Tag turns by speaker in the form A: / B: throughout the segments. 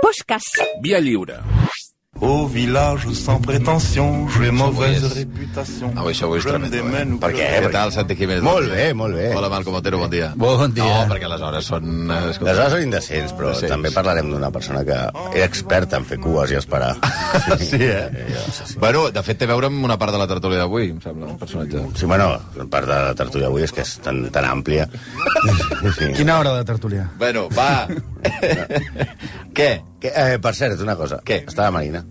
A: Closques.
B: Via lliure.
C: Au village sans prétention, j'ai mauvaise réputation.
D: Avui això avui és
C: Je me
D: tremendo, eh?
C: démène ou
D: Per
C: que-
D: què? Què tal, Santi Jiménez?
E: Molt bé, molt bé.
D: Hola, Marco Montero, bon dia.
E: Bon dia.
D: No, perquè aleshores són... eh,
E: Les
D: Escolta,
E: hores són indecents, però
D: Indecents.
E: també parlarem d'una persona que era experta en fer cues i esperar.
D: Sí, eh? Bueno, de fet, té a veure amb una part de la tertúlia d'avui, em sembla, el personatge.
E: Sí, bueno, la part de la tertúlia avui és que és tan, tan àmplia. Sí.
F: Quina hora de tertúlia?
D: Bueno, va. Què?
E: Que, eh, per cert, una cosa.
D: Què?
E: Està la Marina.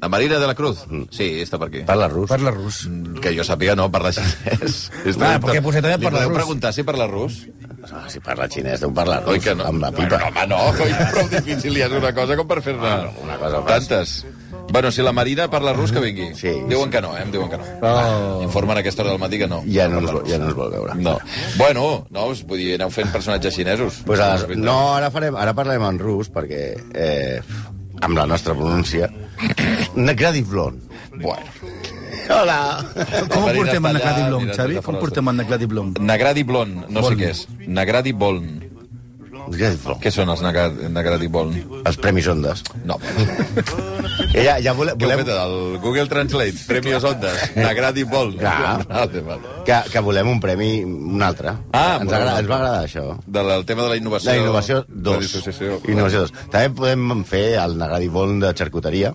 D: La Marina de la Cruz? Sí, està per aquí.
E: Parla rus.
F: Parla rus.
D: Que jo sàpiga, no, parla xinès.
F: Clar, perquè potser també
D: Li
F: parla
D: podeu
F: rus.
D: preguntar si parla rus?
E: Ah, si parla xinès, deu parlar rus.
D: Oi que no?
E: Amb la pipa.
D: Bueno, home, Ah, no, coi, prou difícil ja és una cosa com per fer-ne
E: una cosa fàcil.
D: tantes. Bueno, si la Marina parla rus, que vingui.
E: Sí.
D: Diuen que no, eh? Em diuen que no.
F: Oh.
D: Informen a aquesta hora del matí que no.
E: Ja no ens, vol- ja no ens vol veure.
D: No. Bueno, no, us vull dir, aneu fent personatges xinesos.
E: Pues ara, no, ara, farem, ara parlem en rus, perquè eh, amb la nostra pronúncia... Negradi Blon.
D: Bueno.
E: Hola!
F: Com ho
D: Marina
F: portem
D: està Mm.
F: en
D: allà,
F: Negradi Blom,
D: mira,
F: Xavi?
D: tota
F: Com
D: fora
F: portem en Negradi Blom?
D: Nagradi Blon, no sé
F: Boln.
D: què és. Nagradi Boln.
E: Negradi Blon.
D: Què són els Nagra- Nagradi Boln?
E: Els Premis Ondes.
D: No, bueno.
E: Eh, Ja, ja vole,
D: Volem...
E: volem,
D: El Google Translate, Premios Ondas,
E: Eh.
D: Nagradi Boln.
E: Clar.
D: Vale, vale.
E: que, que volem un premi, un altre.
D: Ah,
E: ens,
D: bueno.
E: agrada, ens va agradar això.
D: Del el tema de la innovació.
E: La innovació 2.
D: La dissociació.
E: Innovació 2. També podem fer el Negradi Bon de xarcuteria,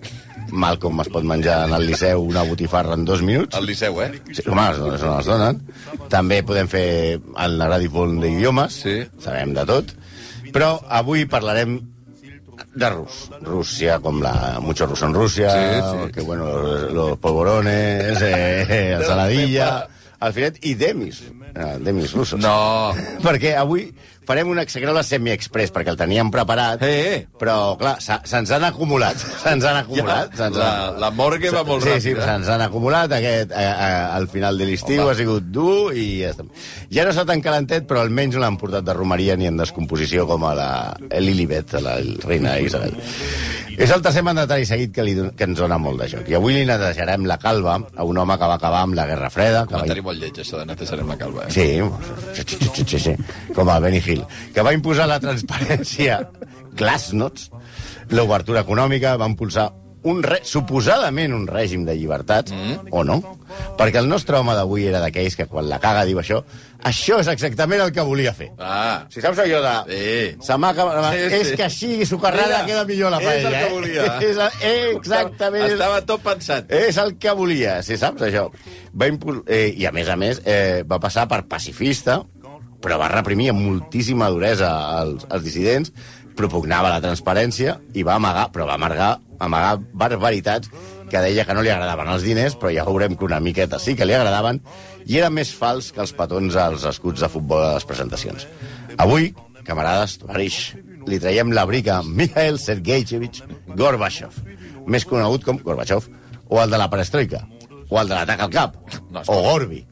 E: mal com es pot menjar en el Liceu una botifarra en dos minuts.
D: Al Liceu, eh?
E: Sí, home, les dones no les donen. També podem fer el Negradi Bon d'idiomes,
D: Sí.
E: sabem de tot. Però avui parlarem de rus. Rússia, com la... Mucho ruso en Rússia,
D: Sí, sí.
E: que bueno, los, los polvorones, eh, el saladilla, el filet i demis. Eh, Demis russos.
D: No.
E: Perquè avui farem un execrable semi-express, perquè el teníem preparat,
D: Eh, eh.
E: però, clar, se- se'ns han acumulat. Se'ns han acumulat.
D: Ja,
E: se'ns
D: la-
E: han-
D: la morgue va molt
E: sí, Sí,
D: ràpida.
E: se'ns han acumulat. Aquest, eh, eh, al final de l'estiu
D: Home.
E: ha sigut dur i ja estem. Ja no està tan calentet, però almenys no l'han portat de romeria ni en descomposició com a la Lilibet, la reina Isabel. És el tercer mandatari seguit que, li, don- que ens dona molt de joc. I avui li netejarem la calva a un home que va acabar amb la Guerra Freda, que va
D: Comentari molt lleig, això de netejarem la calva. Eh?
E: Sí, sí, sí, sí, sí, sí, com a Benny Hill, que va imposar la transparència Glasnost, l'obertura econòmica, va impulsar un re... suposadament un règim de llibertats, mm. o no? Perquè el nostre home d'avui era d'aquells que quan la caga diu això, això és exactament el que volia fer.
D: Ah,
E: Si saps allò de...
D: Sí.
E: Se m'ha acabat...
D: Sí, sí.
E: És que així, socarrada,
D: Mira,
E: queda millor la
D: és el
E: paella.
D: que
E: eh?
D: volia.
E: és el- exactament... és-
D: Estava tot pensat.
E: Eh, és el que volia, si saps això. Va impul... eh, I a més a més eh, va passar per pacifista, però va reprimir amb moltíssima duresa els, els dissidents, propugnava la transparència i va amagar, però va amargar, amagar barbaritats que deia que no li agradaven els diners, però ja veurem que una miqueta sí que li agradaven, i era més fals que els petons als escuts de futbol a les presentacions. Avui, camarades, Barix, li traiem la brica a Mikhail Sergeyevich Gorbachev, més conegut com Gorbachev, o el de la perestroika, o el de l'atac al cap,
D: No,
E: no,
D: escolta.
E: o Gorbi.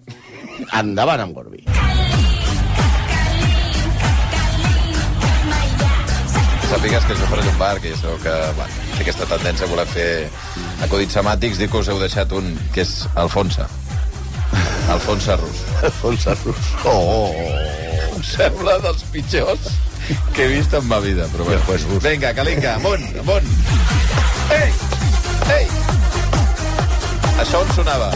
E: Endavant amb Gorbi.
D: Sàpigues que això farà un bar, que això que bueno, té aquesta tendència a voler fer acudits semàtics, dic que us heu deixat un, que és Alfonso. Alfonso Rus.
E: Alfonso Rus. Oh, oh, oh.
D: Em sembla dels pitjors que he vist en ma vida. Però bueno.
E: pues, Rus.
D: Vinga, Calinca, amunt, amunt. Ei, ei. Això on sonava?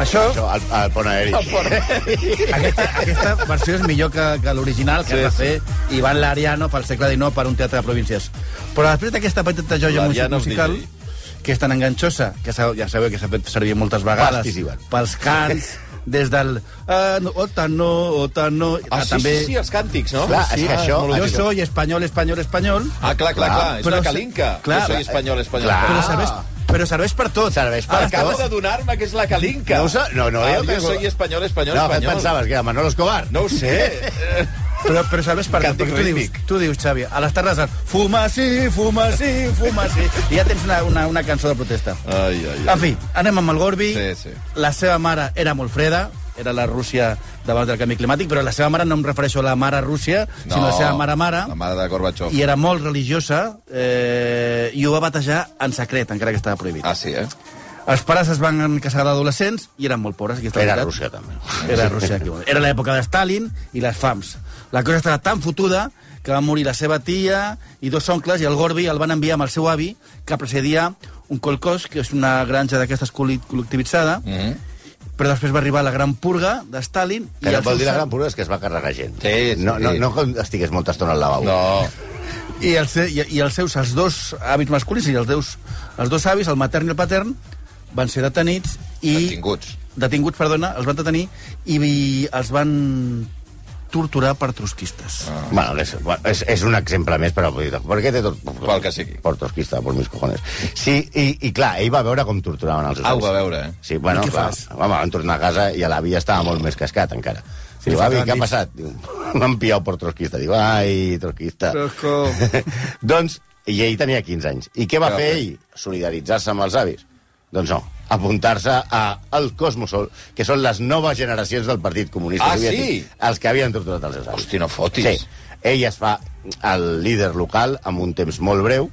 F: Això,
E: Això, el, el pont aeri.
D: El pont
F: aquesta, aquesta versió és millor que, que l'original, que
D: Sí,
F: sí, va fer Ivan Lariano pel segle XIX per un teatre de províncies. Però després d'aquesta petita joia mus-
D: Lariano és
F: musical,
D: DJ.
F: que és tan enganxosa, que sa- ja sabeu que s'ha fet servir moltes vegades
E: Pastis, Ivan.
F: pels cants, des del... Eh, no, ota no, ota no...
D: Ah,
F: "Ah, eh,
D: sí, sí, sí, els càntics, no?
E: Clar, és que això...
F: Yo
E: això
F: soy espanyol, espanyol, espanyol...
D: Ah, clar, clar, clar, és
F: Però
D: una
F: se-
D: calinca.
F: clar,
D: jo soy espanyol, espanyol.
E: clar.
F: Però
D: Però
F: serveix, però serveix per tot.
E: Serveix per
F: Ara,
D: Acabo
E: tot.
D: de donar-me que és la calinca.
E: Ah, No ho sa- no, no,
D: ah,
E: jo
D: jo
E: que-
D: soy espanyol, espanyol,
E: no, que et
D: espanyol.
E: pensaves que era Manolo Escobar.
D: No ho sé. Eh,
F: Però, però serveix per tot.
D: Càntic
F: perquè Tu dius,
D: rítmic.
F: tu dius, Xavi, a les tardes, fuma sí, fuma sí, fuma sí. I ja tens una, una, una cançó de protesta.
D: ai, ai, ai.
F: En fi, anem amb el Gorbi.
D: Sí, sí.
F: La seva mare era molt freda, era la Rússia davant del canvi climàtic, però la seva mare no em refereixo a la mare Rússia, no, sinó a la seva mare-mare,
D: La mare de Gorbachev.
F: i era molt religiosa, eh, i ho va batejar en secret, encara que estava prohibit.
D: Ah, sí, eh?
F: Els pares es van casar d'adolescents i eren molt pobres. Aquesta
E: Era
F: veritat.
E: Rússia, també.
F: Era Rússia. equivalent. Era l'època de Stalin i les fams. La cosa estava tan fotuda que va morir la seva tia i dos oncles, i el Gorbi el van enviar amb el seu avi, que precedia un colcós, que és una granja d'aquestes col·li- col·lectivitzada, mm
E: Mm-hmm.
F: -hmm. però després va arribar la gran purga de Stalin...
E: Que no
F: el
E: vol
F: seu
E: dir la
F: sa-
E: gran purga és que es va carregar gent.
D: Sí, sí.
E: No, no, no que estigués molta estona al lavabo.
D: No,
F: I, els, i, i els seus, els dos avis masculins i els, deus, els dos avis, el matern i el patern, van ser detenits i...
D: detinguts.
F: Detinguts, perdona, els van detenir i, i els van torturar per trotskistes. Ah.
E: Bueno, és, bueno, és, és un exemple més, però vull dir, per què té tot...
D: Pel que sigui.
E: Per tosquista, per mis cojones. Sí, i, i clar, ell va veure com torturaven els
D: Au,
E: ocells.
D: va veure, eh?
E: Sí, bueno,
F: I què
E: clar,
F: fas?
E: home, vam tornar a casa i l'avi ja estava molt més cascat, encara. Sí, diu, avi, què ha passat? Diu, M'han pillat per trotskista. Diu, ai, trotskista.
F: Però com?
E: doncs, i ell tenia 15 anys. I què va
D: Però
E: fer
D: què?
E: ell? Solidaritzar-se amb els avis? Doncs no, apuntar-se a el Cosmosol, que són les noves generacions del Partit Comunista
D: Ah,
E: Soviètic,
D: sí?
E: els que havien torturat els seus avis.
D: Hosti, no fotis.
E: Sí. Ell es fa el líder local amb un temps molt breu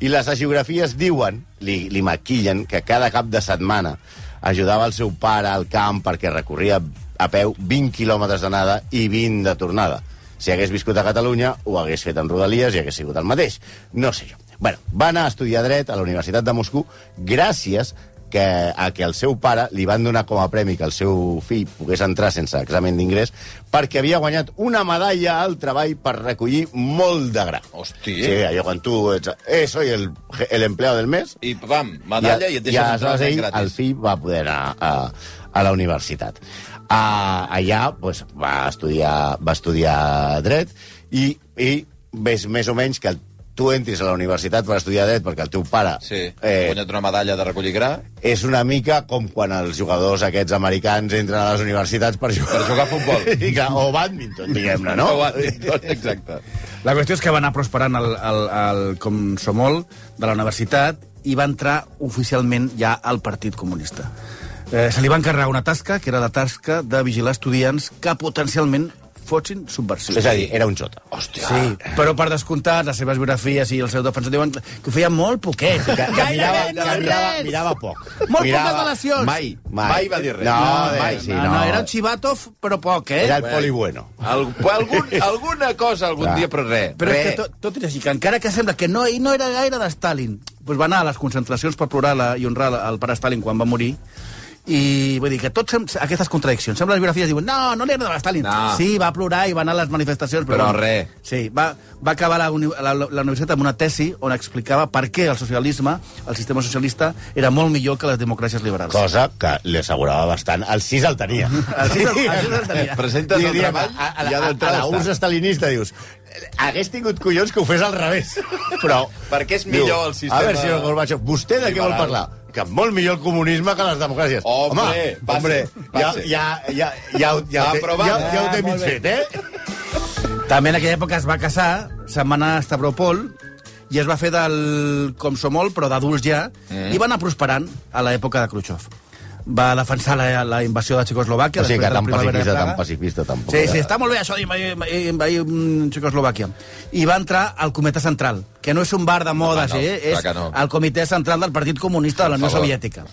E: i les geografies diuen, li, li maquillen, que cada cap de setmana ajudava el seu pare al camp perquè recorria a peu 20 quilòmetres d'anada i 20 de tornada. Si hagués viscut a Catalunya, ho hagués fet en Rodalies i hagués sigut el mateix. No sé jo. Bueno, va anar a estudiar dret a la Universitat de Moscou gràcies que, a que el seu pare li van donar com a premi que el seu fill pogués entrar sense examen d'ingrés perquè havia guanyat una medalla al treball per recollir molt de gra.
D: Hosti.
E: Sí, allò quan tu ets... Eh, soy el, el empleado del mes.
D: I pam, medalla i, et deixes entrar
E: aleshores
D: al
E: ell,
D: nen
E: el
D: gratis.
E: fill va poder anar a, a la universitat. A, allà pues, va, estudiar, va estudiar dret i, i ves més o menys que el, tu entris a la universitat per estudiar dret perquè el teu pare
D: Sí, eh... guanyat una medalla de recollir gra
E: és una mica com quan els jugadors aquests americans entren a les universitats per jugar,
D: Per jugar a futbol.
E: I clar, o badminton, diguem-ne, no?
D: O badminton, exacte.
F: La qüestió és que va anar prosperant el, el, el Comsomol de la universitat i va entrar oficialment ja al Partit Comunista. Eh, se li va encarregar una tasca, que era la tasca de vigilar estudiants que potencialment fossin subversions.
E: És a dir, era un xota.
D: Hòstia.
F: Sí, però per descomptat, les seves biografies i els seus defensors diuen que ho feia molt poquet. Que, que
E: mirava,
F: mirava,
E: que mirava, mirava poc.
F: Molt
E: mirava...
F: poques relacions.
E: Mai, mai.
D: Mai va dir res.
E: No,
D: No,
E: de-
D: mai.
E: Sí,
F: no,
E: no.
F: no, era un xivatov, però poc, eh?
E: Era el poli bueno.
D: Al, algun, alguna cosa algun
E: Clar.
D: dia, però res.
F: Però és
D: res.
F: que tot, tot és així, que encara que sembla que no, ell no era gaire de Stalin, doncs va anar a les concentracions per plorar la, i honrar la- el pare Stalin quan va morir, i vull dir que tots sem- aquestes contradiccions. Sembla les biografies diuen, no, no li agradava Stalin.
D: No.
F: Sí, va plorar i va anar a les manifestacions.
D: Però
F: bueno,
D: res.
F: Sí, va, va acabar la, uni- la, la universitat amb una tesi on explicava per què el socialisme, el sistema socialista, era molt millor que les democràcies liberals.
E: Cosa que li assegurava bastant. El 6 el tenia.
F: El sis el- el sis el tenia.
D: Presentes el
E: Diríem,
D: treball
E: a, a,
D: i
E: la,
D: ja
E: a, a
D: d'entrada
E: la
D: està.
E: URSS estalinista dius hagués tingut collons que ho fes al revés. Però...
D: Perquè és millor el sistema
E: A veure, senyor Gorbachev, vostè de què vol
D: liberal.
E: parlar? Que molt millor el comunisme que les democràcies.
D: Hombre, passe,
E: ja,
D: passe.
E: ja, ja, ja, ho- ja, ho té-
D: Aprovat.
E: ja, ja ho té
D: Ah,
E: mig
D: molt bé.
E: fet, eh?
F: També en aquella època es va casar, se'n va anar a Stavropol, i es va fer del Komsomol, però d'adults ja,
E: Eh.
F: mm. i va anar prosperant a l'època de Khrushchev. Va defensar la, la invasió de Txecoslovàquia...
E: O sigui
F: després
E: que
F: de la
E: tan
F: Primavera de
E: pacifista, tan
F: Praga.
E: pacifista, tampoc.
F: Sí, sí, està molt bé això d'invair invair, mm, Txecoslovàquia. I va entrar al Comitè Central, que no és un bar de modes,
D: no,
F: eh?
D: clar
F: és
D: que no.
F: el Comitè Central del Partit Comunista de la Unió
D: favor.
F: Soviètica.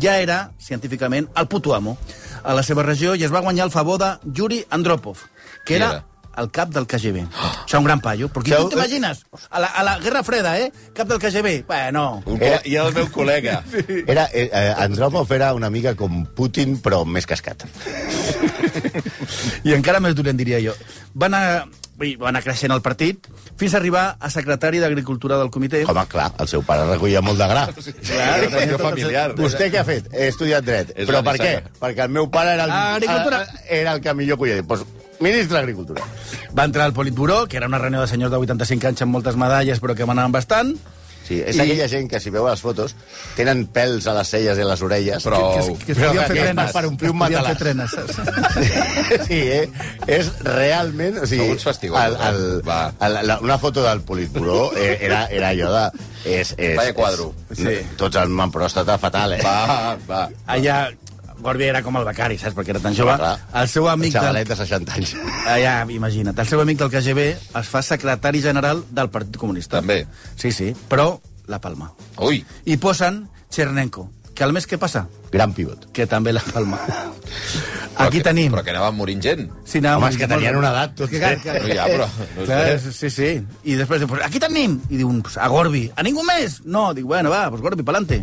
F: Ja era, científicament, el puto amo a la seva regió i es va guanyar el favor de Yuri Andropov,
D: Qui
F: que era,
D: era?
F: el cap del KGB.
D: Ah.
F: Oh. Això, un gran paio. Perquè
E: Això-
F: tu t'imagines, a, la, a la Guerra Freda, eh? Cap del KGB. Bueno,
D: Un
E: Eh.
D: col- I el meu col·lega.
E: Era, eh, eh, Andropov era una mica com Putin, però més cascat.
F: i encara més dolent, diria jo. Va anar, vull dir, va anar creixent el partit fins a arribar a secretari d'Agricultura del comitè.
E: Home, clar, el seu pare recollia molt de gra.
D: Clar, una qüestió familiar.
E: Vostè què ha fet? He estudiat dret.
D: És
E: Però
D: la
E: per què?
D: nissaga.
E: Perquè el meu pare era el,
F: Agricultura.
E: a- era el que millor collia. Doncs ministre d'Agricultura.
F: Va entrar al Politburó, que era una reunió de senyors de 85 anys amb moltes medalles, però que manaven bastant.
E: Sí, és I...
F: I-
E: aquella gent que, si veu les fotos, tenen pèls a les celles i a les orelles.
D: Prou.
F: Que, que, que es
E: Però
F: podien fer
E: que és
F: trenes.
E: per omplir un
F: Es podien
E: matalàs.
F: fer trenes.
E: sí, eh? És realment... O sigui,
D: Alguns fastigues,
E: el, el,
D: va.
E: el, la, una foto del Politburó eh, era, era allò de... És, és,
D: Vaya quadro.
E: És,
F: Sí.
E: Tots amb en pròstata fatal, eh?
D: Va, va.
F: Allà, Gorbi era com el becari, saps? Perquè era tan jove.
E: Clar.
F: El seu amic del
E: Xavalet de 60 anys.
F: Allà, imagina't, el seu amic del KGB es fa secretari general del Partit Comunista.
D: També.
F: Sí, sí, però la palma.
D: Ui,
F: I posen Chernenko, que al mes què passa?
E: Gran pivot.
F: Que també la palma. Aquí
D: que,
F: tenim...
D: Però que anaven morint gent.
F: Sí, anava
E: Home, és
F: molt-
E: que tenien
F: molt-
E: una edat, tots,
F: Que-
E: eh?
F: que-
D: No, ja, però- no
F: Clar,
D: sé.
F: sí, sí. I després diu, pues, aquí tenim! I diu, pues, a Gorbi. A ningú més? No, diu, bueno, va, pues Gorbi, pa'lante.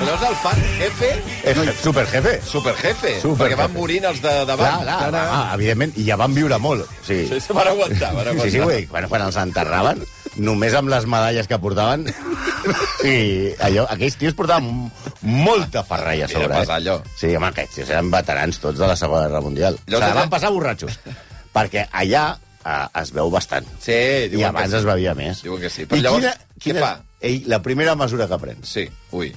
D: Però és el fan jefe,
E: Eh, Superjefe.
D: superjefe,
E: Superjefe.
D: perquè van morint els de
E: Clar,
D: davant.
E: clar, clar, ah, evidentment, i ja van viure molt. O sigui,
D: Sí, se van aguantar, van aguantar.
E: Sí, sí, güey. Bueno, quan els enterraven, només amb les medalles que portaven... I allò, aquells tios portaven molta ferralla a sobre.
D: Era pesar,
E: eh?
D: allò.
E: Sí, home, aquests tios eren veterans tots de la Segona Guerra Mundial.
D: Llavors,
E: Llavors, Se la
D: allà-
E: van passar borratxos. perquè allà eh, es veu bastant.
D: Sí, diuen
E: I abans
D: que sí.
E: es bevia més.
D: Diuen que sí. Però
E: I
D: llavors,
E: quina,
D: què
E: quina,
D: fa?
E: Ei, la primera mesura que prens.
D: Sí, ui.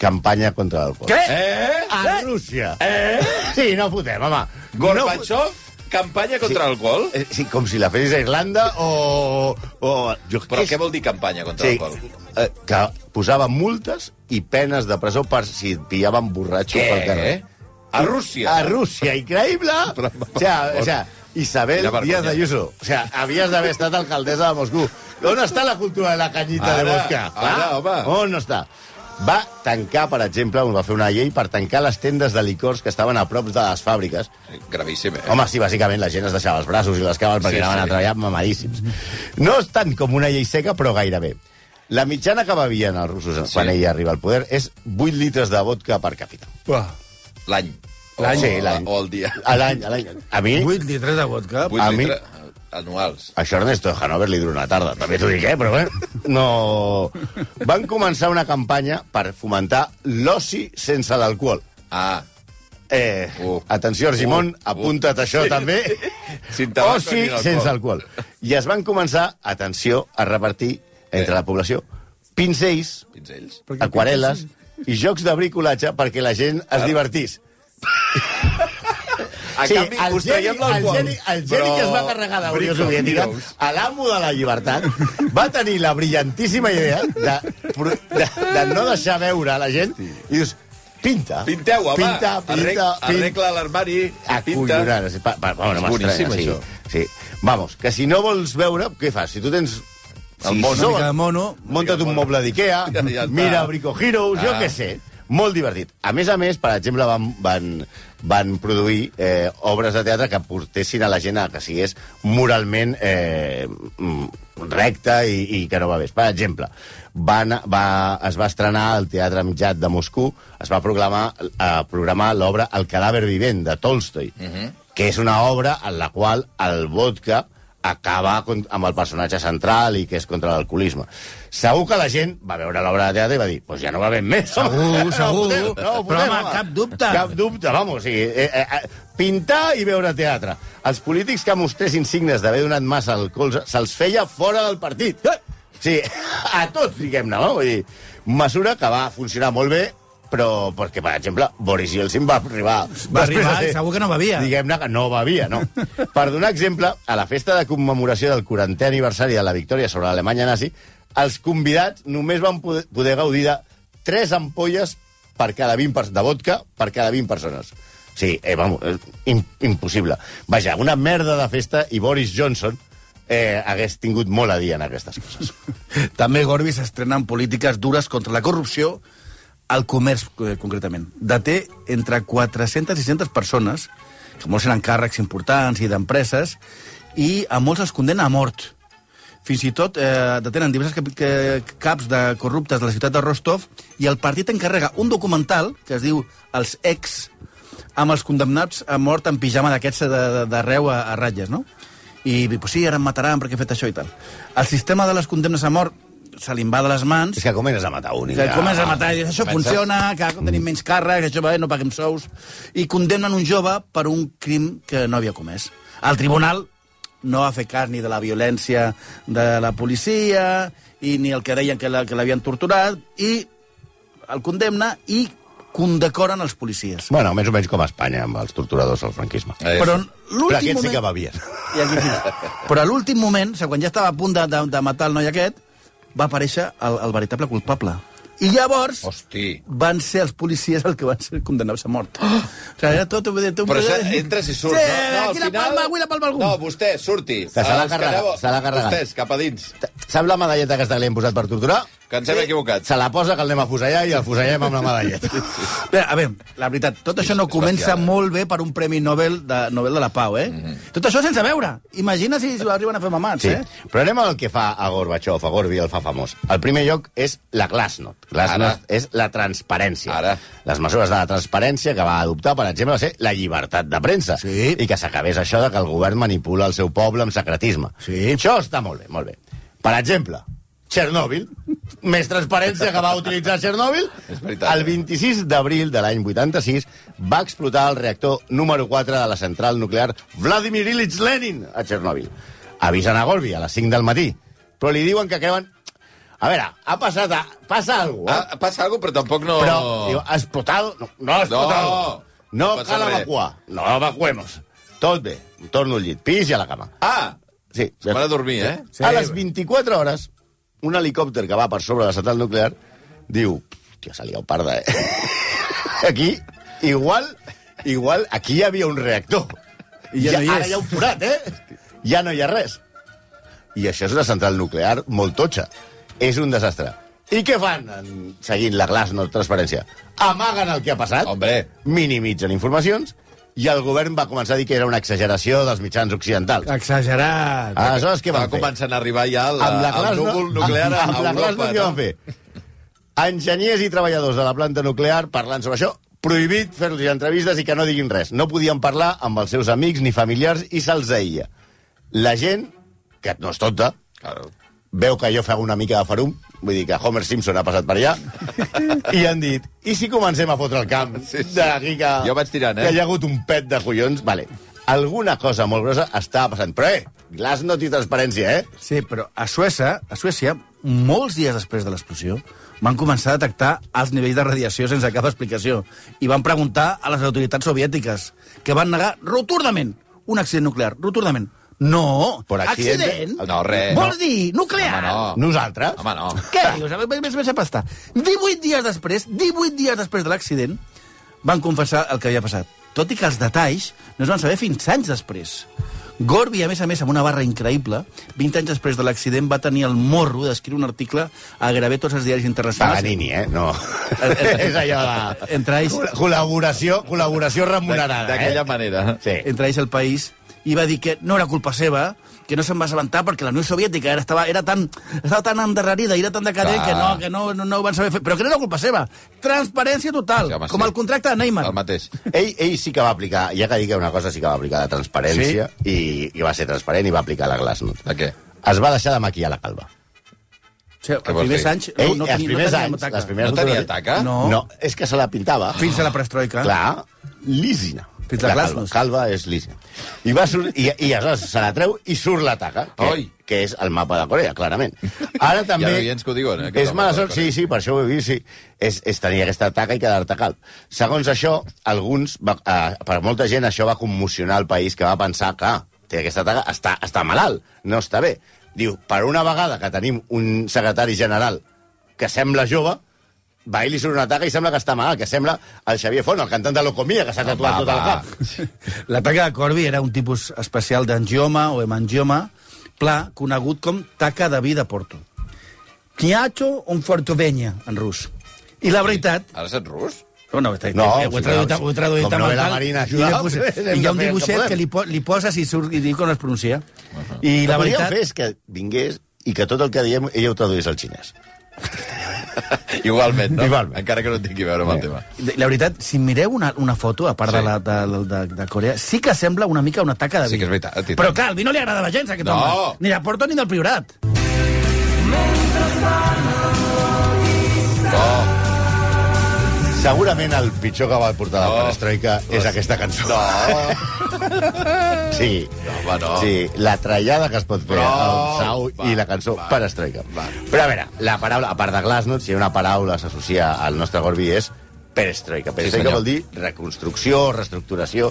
E: Campanya contra l'alcohol.
F: Què?
D: Eh?
E: A Rússia. Eh? Sí, no fotem, home. No, fo-
D: Gorbachev, campanya contra l'alcohol?
E: Eh, sí, com si la fessis a Irlanda o... o jo,
D: Però què vol dir campanya contra
E: Sí,
D: l'alcohol?
E: eh, que posava multes i penes de presó per si et pillaven borratxo
D: Què?
E: pel carrer.
D: A Rússia?
E: A Rússia, increïble!
D: Però, per
E: o sea,
D: favor.
E: o sea, Isabel
D: Quina vergonya.
E: Díaz de Ayuso. O sea, havies d'haver estat alcaldessa de Moscú. On està la cultura de la canyita
D: Ara,
E: de vodka?
D: ara,
E: Ah,
D: home.
E: On està? Va tancar, per exemple, va fer una llei per tancar les tendes de licors que estaven a prop de les fàbriques
D: Gravíssim, eh?
E: Home, sí, bàsicament la gent es deixava els braços i les cames perquè
D: Sí,
E: sí, anaven
D: sí.
E: a treballar mamadíssims. No és tant com una llei seca, però gairebé. La mitjana que bevien els russos sí. quan ella arriba al poder és 8 litres de vodka per càpita.
F: Uah,
D: L'any. O-
E: L'any. Oh, Sí, l'any.
D: O el dia.
E: A l'any, a l'any. A mi,
F: 8 litres de vodka.
D: Vuit
E: A mi-
D: litres anuals.
E: això a Ernesto de Hanover li dura una tarda, també t'ho dic, eh? Però bé, no... Van començar una campanya per fomentar l'oci sense l'alcohol.
D: Ah,
E: Eh,
D: Uh.
E: uh. Atenció, Argimon,
D: Uh.
E: uh. apunta't això sí. també.
D: Sin tabaco
E: Oci
D: ni alcohol.
E: sense alcohol. I es van començar, atenció, a repartir entre
D: Bé.
E: la població pinzells,
D: pinzells.
E: aquarel·les i jocs de bricolatge perquè la gent es divertís.
D: A
E: Sí,
D: canvi,
E: el
D: us traiem
E: geni, el
D: l'alcohol.
E: geni, el geni que es va carregar de la Unió
D: Brico,
E: Soviètica,
D: Heroes.
E: a l'amo de la llibertat, va tenir la brillantíssima idea de, pro- de, de no deixar veure a la gent i dius, pinta.
D: Pinteu, home.
E: Pinta, pinta, Ah,
D: Arreg- Arregla l'armari. Pinta.
E: Acollonant. Pa, pa, bueno,
D: És
E: m'estranya,
D: boníssim,
E: sí,
D: això.
E: Sí. Vamos, que si no vols veure, què fas? Si tu tens...
D: El mono.
E: sou-
F: Una mica de mono.
E: Munta't un moble d'Ikea,
D: Ja- ja està.
E: mira Brico Heroes, jo
D: Ah.
E: què sé. Molt divertit. A més a més, per exemple, van, van, van produir eh, obres de teatre que portessin a la gent a que sigués moralment eh, mm, recta i, i que no va bé. Per exemple, van, va, es va estrenar al Teatre Mitjat de Moscou, es va proclamar, eh, programar l'obra El cadàver vivent, de Tolstoi, uh -huh. que és una obra en la qual el vodka acaba con- amb el personatge central i que és contra l'alcoholisme. Segur que la gent va veure l'obra de teatre i va dir pues ja no va ben més.
F: Segur,
E: No,
F: segur.
E: podem, no,
F: Però,
E: podem,
F: home, cap dubte.
E: Cap dubte, vamos. Sí, eh, eh, eh, pintar i veure teatre. Els polítics que mostressin signes d'haver donat massa al colze se'ls feia fora del partit.
F: Eh!
E: Sí, a tots, diguem-ne, no? Vull dir, mesura que va funcionar molt bé, però perquè, per exemple, Boris Yeltsin va arribar...
F: Va
E: després de
F: arribar
E: ser-
F: i segur que no bevia.
E: Diguem-ne que no bevia, no. Per donar exemple, a la festa de commemoració del 40è aniversari de la victòria sobre l'Alemanya nazi, els convidats només van poder, poder gaudir de 3 ampolles per cada 20 per, de vodka per cada 20 persones. Sí, eh, vamos, eh, im, impossible. Vaja, una merda de festa i Boris Johnson eh, hagués tingut molt a dir en aquestes coses.
F: També Gorbi s'estrena amb polítiques dures contra la corrupció, al comerç, eh, concretament. Deté entre 400 i 600 persones, que molts eren càrrecs importants i d'empreses, i a molts els condena a mort. Fins i tot eh, detenen diversos cap, que, caps de corruptes de la ciutat de Rostov i el partit encarrega un documental que es diu Els ex, amb els condemnats a mort en pijama d'aquests de- de- d'arreu a, a ratlles, no? I, pues sí, ara em mataran perquè he fet això i tal. El sistema de les condemnes a mort se li va de les mans
E: És que comences a matar un i
F: que
E: ja-
F: comences a matar i dius, això
D: Pensa-
F: funciona, que ara tenim menys càrrecs, això va bé, no paguem sous, i condemnen un jove per un crim que no havia comès. El tribunal no va fer cas ni de la violència de la policia, i ni el que deien que la- que l'havien torturat, i el condemna i condecoren els policies.
E: Bueno, més o menys com a Espanya, amb els torturadors del franquisme.
D: Eh,
F: Però
E: Però
F: l'últim
E: aquests sí que
F: moment...
E: bevien.
F: I aquí sí. Però a l'últim moment, o sigui, quan ja estava a punt de, de, de matar el noi aquest, va aparèixer el, el veritable culpable. I llavors...
D: Hosti.
F: van ser els policies els que van ser condemnats a mort. Oh! O sigui, era tot... Però
D: Però això entres i surts,
F: sí,
D: no? no? al
F: aquí la palma, avui la palma algú.
D: No, vostè, surti.
E: Se l'ha
D: Els que
E: carregat,
D: aneu-
E: se l'ha carregat.
D: Vostès, cap a dins.
E: Saps la medalleta que li hem posat per torturar?
D: que ens hem equivocat.
E: Se la posa que el anem a fusellar i el fusellem amb la medalleta.
F: Bé, a veure, la veritat, tot això no
D: és
F: comença
D: bestial, eh? Mhm.
F: molt bé per un Premi Nobel de, Nobel de la Pau, eh? Tot això sense veure. Imagina si, si ho arriben a fer mamats,
E: Sí.
F: eh?
E: Però anem al que fa a Gorbachev, a Gorbi el fa famós. El primer lloc és la glasnost. Glasnost
D: Ara.
E: és la transparència.
D: Ara.
E: Les mesures de la transparència que va adoptar, per exemple, va ser la llibertat de premsa.
F: Sí.
E: I que s'acabés això de que el govern manipula el seu poble amb secretisme.
F: Sí.
E: Això està molt bé, molt bé. Per exemple, Txernòbil, més transparència que va utilitzar Txernòbil,
D: És veritat. eh?
E: el 26 d'abril de l'any 86 va explotar el reactor número 4 de la central nuclear Vladimir Ilyich Lenin a Txernòbil. Avisen a Gorbi a les 5 del matí, però li diuen que creuen... A veure, ha passat... A... Passa alguna cosa, eh?
D: Ah, passa alguna cosa, però tampoc no...
E: Però, diu, ha explotat... No, no ha explotat. No,
D: No passa
E: cal
D: res.
E: evacuar. No evacuemos. Tot bé. Em torno al llit. Pis i a la cama.
D: Ah,
E: Sí.
D: van a dormir, eh?
E: Sí. A les 24 hores, un helicòpter que va per sobre de la central nuclear diu... Tio, se li ha un parda, eh? Aquí, igual, igual, aquí hi havia un reactor.
F: I ja no hi
E: Ara
F: és.
E: hi ha un forat, eh? Ja no hi ha res. I això és una central nuclear molt totxa. És un desastre. I què fan en- seguint la glaç no transparència? Amaguen el que ha passat,
D: Hombre.
E: minimitzen informacions, i el govern va començar a dir que era una exageració dels mitjans occidentals.
F: Exagerat.
E: Aleshores, què
D: Va
E: van fer?
D: començant a arribar ja el,
E: amb la
D: el
E: Glasnost-
D: núvol nuclear a
E: amb, amb la
D: Europa.
E: Glasnost què van fer? Enginyers i treballadors de la planta nuclear parlant sobre això, prohibit fer-los entrevistes i que no diguin res. No podien parlar amb els seus amics ni familiars i se'ls aïlla. La gent, que no és tonta,
D: Claro.
E: veu que jo fa una mica de farum, vull dir que Homer Simpson ha passat per allà, i han dit, i si comencem a fotre el camp
D: Sí, sí.
E: d'aquí que...
D: Jo vaig tirant, eh?
E: Que hi ha hagut un pet de collons, vale. Alguna cosa molt grossa estava passant. Però, eh, Glasnost i transparència, eh?
F: Sí, però a Suècia, a Suècia, molts dies després de l'explosió, van començar a detectar els nivells de radiació sense cap explicació i van preguntar a les autoritats soviètiques, que van negar rotundament un accident nuclear, rotundament. No,
E: Por accidente?
F: accident?
D: No, res.
F: Vols dir nuclear?
D: Home, no.
E: Nosaltres?
D: Home, no.
F: Què dius? A veure, Més, més a pastar. 18 dies després, 18 dies després de l'accident, van confessar el que havia passat. Tot i que els detalls no es van saber fins anys després. Gorby, a més a més, amb una barra increïble, 20 anys després de l'accident va tenir el morro d'escriure un article a gairebé tots els diaris internacionals.
E: Paganini, eh? No.
F: eh,
E: és allò de...
F: Entre ells-
E: Col- Col·laboració, col·laboració
D: D'aqu-
E: remunerada,
D: D'aquella
E: eh?
D: manera.
E: Sí.
F: entre ells el país, i va dir que no era culpa seva, que no se'n va assabentar perquè la Unió Soviètica era, estava, era tan, estava tan endarrerida i era tan decadent
D: Clar.
F: que no, que no, no, no ho van saber fer. Però que no era culpa seva. Transparència total,
D: Sí, home,
F: com
D: sí.
F: el contracte de Neymar.
D: El mateix.
E: Ell, ell sí que va aplicar, ja que dic una cosa, sí que va aplicar la transparència sí? i, i va ser transparent i va aplicar la glasnost.
D: De què?
E: Es va deixar de maquillar la calva.
F: O sigui,
D: Què
F: els
D: vols
F: primers
D: dir?
F: anys...
E: Ell, els
F: tenia-
E: primers
F: tenia
E: anys,
F: taca.
E: les primeres
D: No tenia
E: fotografies-
D: taca?
F: No.
E: No, és que se la pintava.
F: Fins a la perestroika.
E: Clar, lísina.
F: Fins la
E: calva,
F: glasnost.
E: calva és lísina. I, va sur i, i aleshores se la treu i surt la taca, que,
D: Oi.
E: que és el mapa de Corea, clarament. Ara
D: Hi
E: també...
D: ha oients que ho diuen, eh, que és
E: és
D: el
E: mala
D: mapa de
E: sort, sí,
D: Corea.
E: sí, per això ho he vist, sí. És, és tenir aquesta taca i quedar-te calb. Segons això, alguns... Va, eh, per molta gent això va commocionar el país, que va pensar que ah, té aquesta taca, està, està malalt, no està bé. Diu, per una vegada que tenim un secretari general que sembla jove, va i li surt una taca i sembla que està malalt, que sembla el Xavier Font, el cantant de Locomia, que s'ha tatuat tota tot el cap.
F: La taca de Corby era un tipus especial d'angioma o hemangioma pla, conegut com taca de vi de Porto. Quiacho un fortovenya, en rus. I la veritat...
D: Ara saps rus?
F: No, Oh, no, està,
E: No,
F: no, ho he traduït,
E: com
F: ho he traduït amb el
E: novela
F: tal,
E: marina,
F: i, li he
E: ajuda'm,
F: posat-
E: hem
F: i hi
E: de
F: ha un
E: fer el que
F: dibuixet
E: podem.
F: que li, po li poses i, surt, i diu com es pronuncia. I
E: I
F: la
E: la veritat...
F: veritat...
E: fer és que vingués i que tot el que diem ella ho traduís al xinès.
D: Igualment, no?
E: Igualment. Eh.
D: Encara que no tingui a veure amb el tema.
F: La veritat, si mireu una, una foto, a part
D: Sí.
F: sí. de, la, de, de, de Corea, sí que sembla una mica una taca de vi.
D: Sí que és veritat, i tant.
F: Però clar, al vi no li agradava gens, aquest
D: No.
F: home. Ni de Porto ni del Priorat.
D: No,
E: Segurament el pitjor que va portar no.
D: No.
E: la perestroika és aquesta cançó. No. Sí.
D: No, home, no.
E: Sí, la trallada que es pot fer
D: No.
E: al Sau
D: Va,
E: i la cançó
D: va,
E: perestroika.
D: va.
E: Però a veure, la paraula, a part de Glasnost, si hi ha una paraula que s'associa al nostre Gorbi és perestroika. Perestroika
D: senyor.
E: vol dir reconstrucció, reestructuració,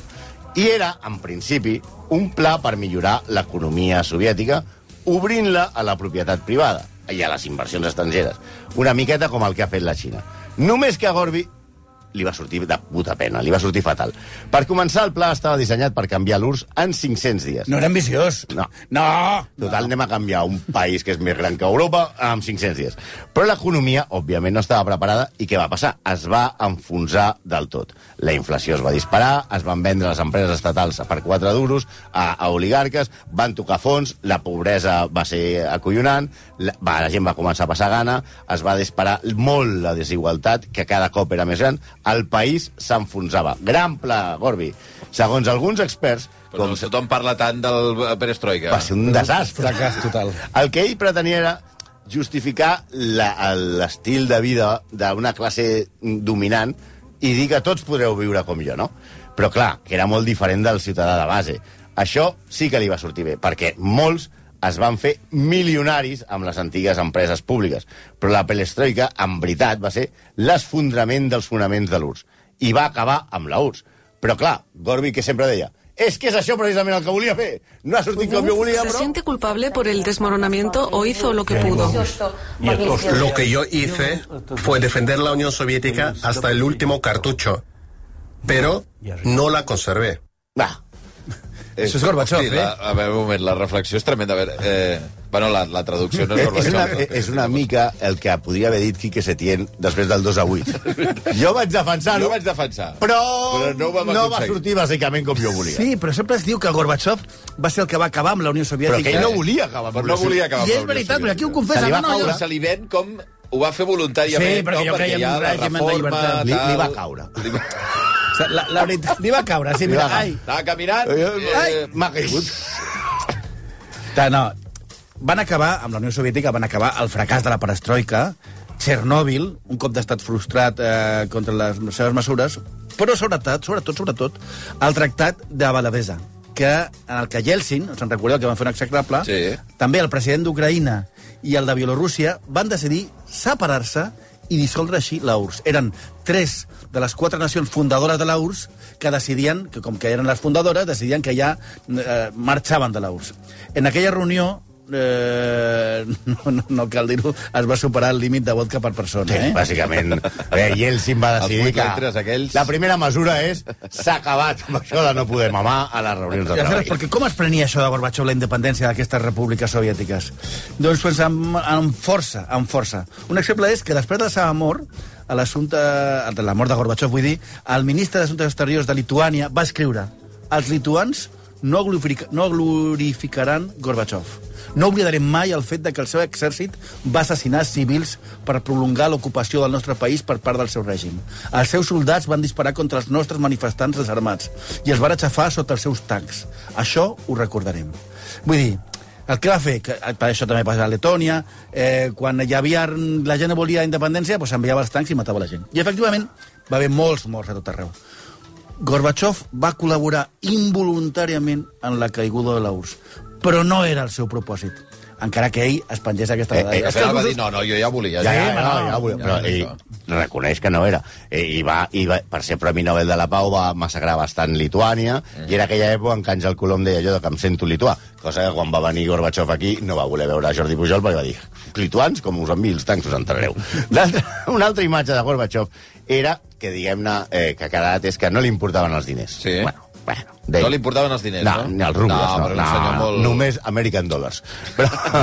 E: i era, en principi, un pla per millorar l'economia soviètica obrint-la a la propietat privada i a les inversions estrangeres. Una miqueta com el que ha fet la Xina. Només que a Gorbi li va sortir de puta pena, li va sortir fatal. Per començar, el pla estava dissenyat per canviar l'URSS en 500 dies.
F: No era ambiciós.
E: No.
F: No!
E: Total, anem a canviar un país que és més gran que Europa amb 500 dies. Però l'economia, òbviament, no estava preparada i què va passar? Es va enfonsar del tot. La inflació es va disparar, es van vendre les empreses estatals per 4 duros a, a oligarques, van tocar fons, la pobresa va ser acollonant, la, va, la gent va començar a passar gana, es va disparar molt la desigualtat, que cada cop era més gran, el país s'enfonsava. Gran pla, Gorbi. Segons alguns experts,
D: Però
E: com
D: com tothom parla tant del eh, perestroika.
E: va ser un desastre.
F: Fracàs total.
E: El que ell pretenia era justificar la- el- l'estil de vida d'una classe dominant i dir que tots podreu viure com jo, no? Però, clar, que era molt diferent del ciutadà de base. Això sí que li va sortir bé, perquè molts es van fer milionaris amb les antigues empreses públiques. Però la perestroika, en veritat, va ser l'esfondrament dels fonaments de l'URSS. I va acabar amb la URSS. Però, clar, Gorbi, que sempre deia, és que és això precisament el que volia fer. No ha sortit com jo volia,
A: ¿Se
E: però...
A: siente culpable por el desmoronamiento o hizo lo que pudo?
B: Lo que yo hice fue defender la Unión Soviética hasta el último cartucho, pero no la conservé.
E: Va.
F: Això és Gorbachev,
D: Sí, la,
F: eh?
D: a veure, un moment, la reflexió és tremenda. A veure, eh, bueno, la, la traducció no és
E: És una,
D: Gorbachev.
E: Eh, és una mica el que podria haver dit Quique Setién després del 2 a 8. Jo vaig defensar-ho,
D: Jo vaig defensar.
E: però,
D: Però no ho vam
E: no va
D: aconseguir.
E: sortir bàsicament com jo volia.
F: Sí, però sempre es diu que Gorbachev va ser el que va acabar amb la Unió
E: Però que
F: Soviètica.
E: ell no volia acabar amb
D: Però no
E: la-
D: volia acabar amb
F: I és
D: la Unió
F: veritat, però aquí ho
D: Soviètica.
F: confessa.
E: Se li va
F: no, no, jo-
E: caure.
D: Se li ven com ho va fer voluntàriament,
F: Sí,
D: no,
F: perquè jo
D: perquè
F: creia en
D: hi ha
F: un
D: la
F: règim de
D: reforma...
F: llibertat.
E: Li, li va
D: tal.
E: caure.
F: O sigui, La, la veritat, li va caure, sí,
E: Li
F: mira,
E: va caure.
F: ai.
D: Estava caminant...
E: Eh, M'ha caigut.
F: Ta- No, van acabar, amb la Unió Soviètica, van acabar el fracàs de la perestroika, Txernòbil, un cop d'estat frustrat eh, contra les seves mesures, però sobretot, sobretot, sobretot, el tractat de Valadesa, que en el que Yeltsin, se'n recordeu que van fer un execrable,
D: Sí.
F: també el president d'Ucraïna i el de Bielorússia van decidir separar-se i dissoldre així la URSS. Eren tres de les quatre nacions fundadores de la URSS que decidien, que com que eren les fundadores, decidien que ja eh, marxaven de la URSS. En aquella reunió Eh, no, no, no cal dir-ho, es va superar el límit de vodka per persona,
E: Sí,
F: eh?
E: bàsicament. Eh, Yeltsin va
D: Els
E: decidir
D: vuit
E: que
D: litres aquells.
E: la primera mesura és s'ha acabat amb això de no poder mamar a les reunions de
F: I aleshores,
E: treball.
F: perquè com es prenia això de Gorbachev la independència d'aquestes repúbliques soviètiques? Doncs pues, amb, amb força, amb força. Un exemple és que després de la seva mort, a l'assumpte de la mort de Gorbachev, vull dir, el ministre d'Assumptes Exteriors de Lituània va escriure els lituans no, glorific no glorificaran Gorbachev. No oblidarem mai el fet de que el seu exèrcit va assassinar civils per prolongar l'ocupació del nostre país per part del seu règim. Els seus soldats van disparar contra els nostres manifestants desarmats i els van aixafar sota els seus tancs. Això ho recordarem. Vull dir, el que va fer, que eh, per això també passa a Letònia, eh, quan hi havia, la gent volia independència, doncs enviava els tancs i matava la gent. I efectivament va haver molts morts a tot arreu. Gorbachev va col·laborar involuntàriament en la caiguda de la URSS, però no era el seu propòsit, encara que ell es pengés aquesta
E: Eh, eh,
D: I al
F: medalla.
E: és que
D: final va
E: els
D: dir, no, no, jo ja volia.
E: ja, ja, ja,
D: no,
E: ja, ja, volia, però ell reconeix que no era. Eh, I, va, i va, per ser Premi Nobel de la Pau va massacrar bastant Lituània, mm. i era aquella època en què Àngel Colom deia allò de que em sento lituà, cosa que quan va venir Gorbachev aquí no va voler veure Jordi Pujol perquè va dir lituans, com us enviï els tancs us entrareu. Una altra imatge de Gorbachev era que, diguem-ne, eh, que ha quedat és que no li importaven els diners.
D: Sí.
E: Bueno, bueno,
D: No li importaven els diners,
E: no?
D: no?
E: No, els rubles,
D: No, però
E: no. no,
D: era un senyor molt- eh,
E: Només American Dollars. Però...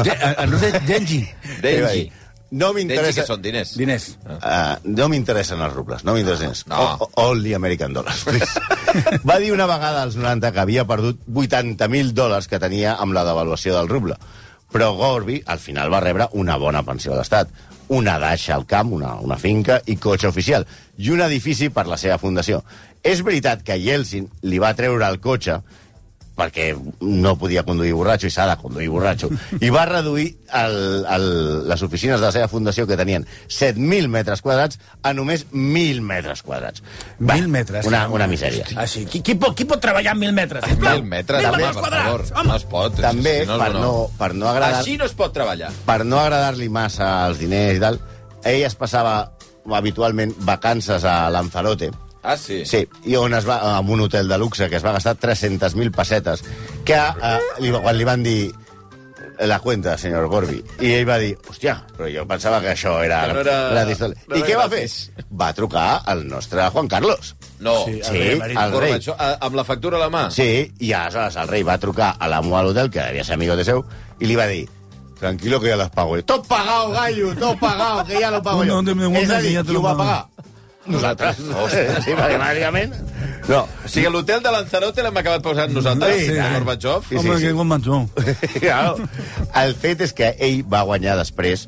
F: En rus és Genji.
E: Ell va
D: Dengi.
E: dir, No
D: Dengi,
E: m'interessa...
D: que són diners.
F: Diners.
E: Uh, no m'interessen els rubles, no m'interessen.
D: No.
E: O- o- Only American dollars, please. Va dir una vegada als 90 que havia perdut 80.000 dòlars que tenia amb la devaluació del ruble. Però Gorby, al final, va rebre una bona pensió de l'Estat, una daixa al camp, una, una finca i cotxe oficial, i un edifici per la seva fundació. És veritat que Yeltsin li va treure el cotxe perquè no podia conduir borratxo i s'ha de conduir borratxo. I va reduir el, el, les oficines de la seva fundació que tenien 7.000 metres quadrats a només 1.000 metres quadrats. Va,
F: Mil metres.
E: Una, una misèria.
F: Així, qui, qui, pot, qui pot treballar amb mil metres? sisplau?
D: Mil metres, home, per favor. No es pot. és-
E: També,
D: és que
E: per, no, per no agradar...
D: Així no es pot treballar.
E: per no agradar-li massa els diners i tal, ell es passava habitualment vacances a Lanzarote.
D: Ah, sí?
E: Sí, i on es va, amb un hotel de luxe que es va gastar 300.000 pessetes, que eh, li, quan li van dir la cuenta, señor Gorbi. I ell va dir, hòstia, però jo pensava que això era...
D: Que no era-
E: gratis.
D: no
E: I
D: era
E: què va fer?
D: gratis.
E: Va trucar al nostre Juan Carlos.
D: No,
E: Sí,
D: sí,
E: el rei.
D: el rei. Amb la factura a la mà.
E: Sí, i aleshores el rei va trucar a l'amo de l'hotel, que devia ser amigo de seu, i li va dir, tranquilo que ja les pago jo. Tot pagado, gallo, tot pagado, que ja lo pago jo.
G: No, no, no, no,
E: És a
G: que
E: dir,
G: ja te
E: qui ho
G: lo
E: va
G: pago.
E: pagar? Nosaltres. Sí, perquè bàsicament... No,
D: O sigui, l'hotel de Lanzarote l'hem acabat posant nosaltres,
E: Sí,
D: sí,
E: sí.
D: Gorbachev.
E: Sí, sí,
G: Home,
E: sí.
G: que convençó.
E: Claro. El fet és que ell va guanyar després,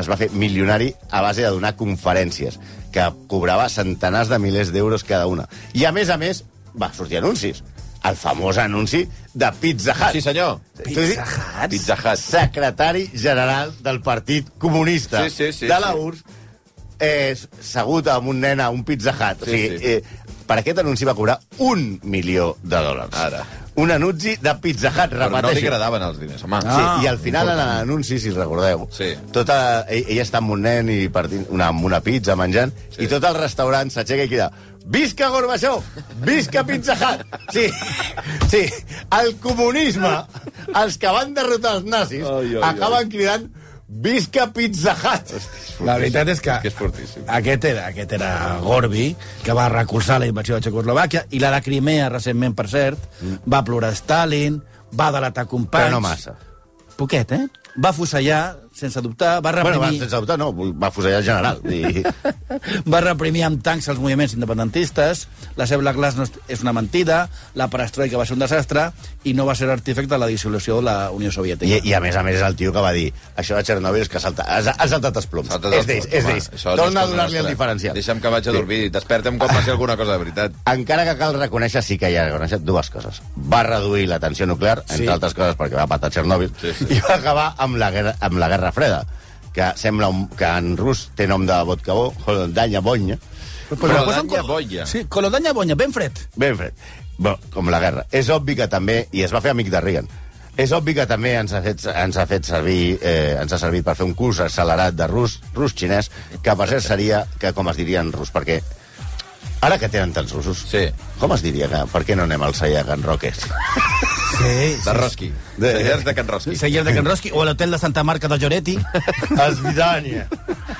E: es va fer milionari a base de donar conferències, que cobrava centenars de milers d'euros cada una. I, a més a més, va sortir anuncis. El famós anunci de Pizza Hut.
D: Sí, senyor.
E: Pizza Hut?
D: Pizza Hut.
E: Secretari general del Partit Comunista
D: Sí, sí, sí,
E: de la
D: sí.
E: URSS, eh, segut amb un nen a un Pizza Hut.
D: Sí,
E: o sigui,
D: sí.
E: eh, per aquest anunci va cobrar un milió de dòlars.
D: Ara.
E: Un anunci de Pizza Hut,
D: Però no li
E: repeteixo.
D: agradaven els diners, home.
E: Sí,
F: Ah,
E: i al final, en l'anunci, si recordeu,
D: Sí.
E: tota, ell, ella està amb un nen i partint una, amb una pizza menjant, sí. i tot el restaurant s'aixeca i crida Visca Gorbachev! Visca Pizza Hut! Sí, sí, el comunisme, els que van derrotar els nazis,
D: Ai, ai, ai.
E: acaben cridant Visca Pizza Hut!
F: La veritat és que,
D: Que és fortíssim.
F: aquest, era, aquest era Gorbi, que va recolzar la invasió de Txecoslovàquia, i la de Crimea, recentment, per cert, va plorar Stalin, va delatar companys...
E: Mm. Però no massa.
F: Poquet, eh? Va fusellar, sense dubtar, va reprimir...
E: Bueno, va, sense dubte, no, va fusellar el general. I...
F: va reprimir amb tancs els moviments independentistes, la seva Glass no és- és una mentida, la perestroika va ser un desastre i no va ser artífect de la dissolució de la Unió Soviètica.
E: I, I a més a més és el tio que va dir això de Txernòbil és que ha saltat, ha, ha saltat els ploms.
D: Salta't
E: és
D: el-
E: d'ells, és
D: home,
E: d'ells.
D: això no és
E: Torna a
D: cosa
E: donar-li el
D: nostra.
E: diferencial.
D: Deixa'm que vaig a dormir. Desperta'm quan passi alguna cosa de veritat.
E: Encara que cal reconèixer, sí que hi ha reconèixer dues coses. Va reduir la tensió nuclear, entre
F: Sí.
E: altres coses perquè va patar Txernòbil,
D: Sí, sí.
E: i va acabar amb la, guerra, amb la Guerra Freda, que sembla un, que en rus té nom de vodka bo, Holodanya Bonya,
D: Però
F: posen
D: danya
F: col-
D: boia.
F: Sí, colodanya bonya, ben fred.
E: ben fred. Bo, com la guerra. És obvi que també, i es va fer amic de Reagan, és obvi que també ens ha fet, ens ha fet servir, eh, ens ha servit per fer un curs accelerat de rus, rus-xinès, que per cert seria, que com es diria en rus, perquè ara que tenen tants russos,
D: Sí.
E: com es diria que, per què no anem al Saia Can Roques?
F: Sí,
D: De Roski.
E: De-
D: De, Cellers de Can Roski.
F: Seller de Can Roski o a l'hotel de Santa Marca de Lloretti.
E: Esvidània.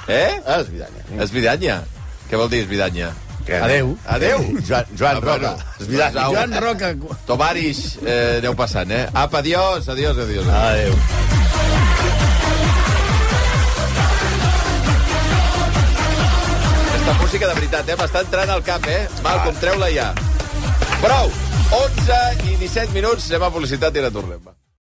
D: Eh?
E: Esvidània.
D: Esvidanya. Què vol dir esvidanya?
F: Adeu.
D: Adeu.
E: Joan, Joan
D: Ah, bueno.
E: Roca. Esvidània.
D: Au.
F: Joan Roca...
D: Tovaris, eh, aneu passant, eh? Apa, adiós, adiós, adiós. adiós.
E: Adéu.
D: Aquesta música de veritat, eh? M'està entrant al cap, eh? Malcom, treu-la ja. Prou! 11 i 17 minuts, anem a publicitat i ara tornem. va.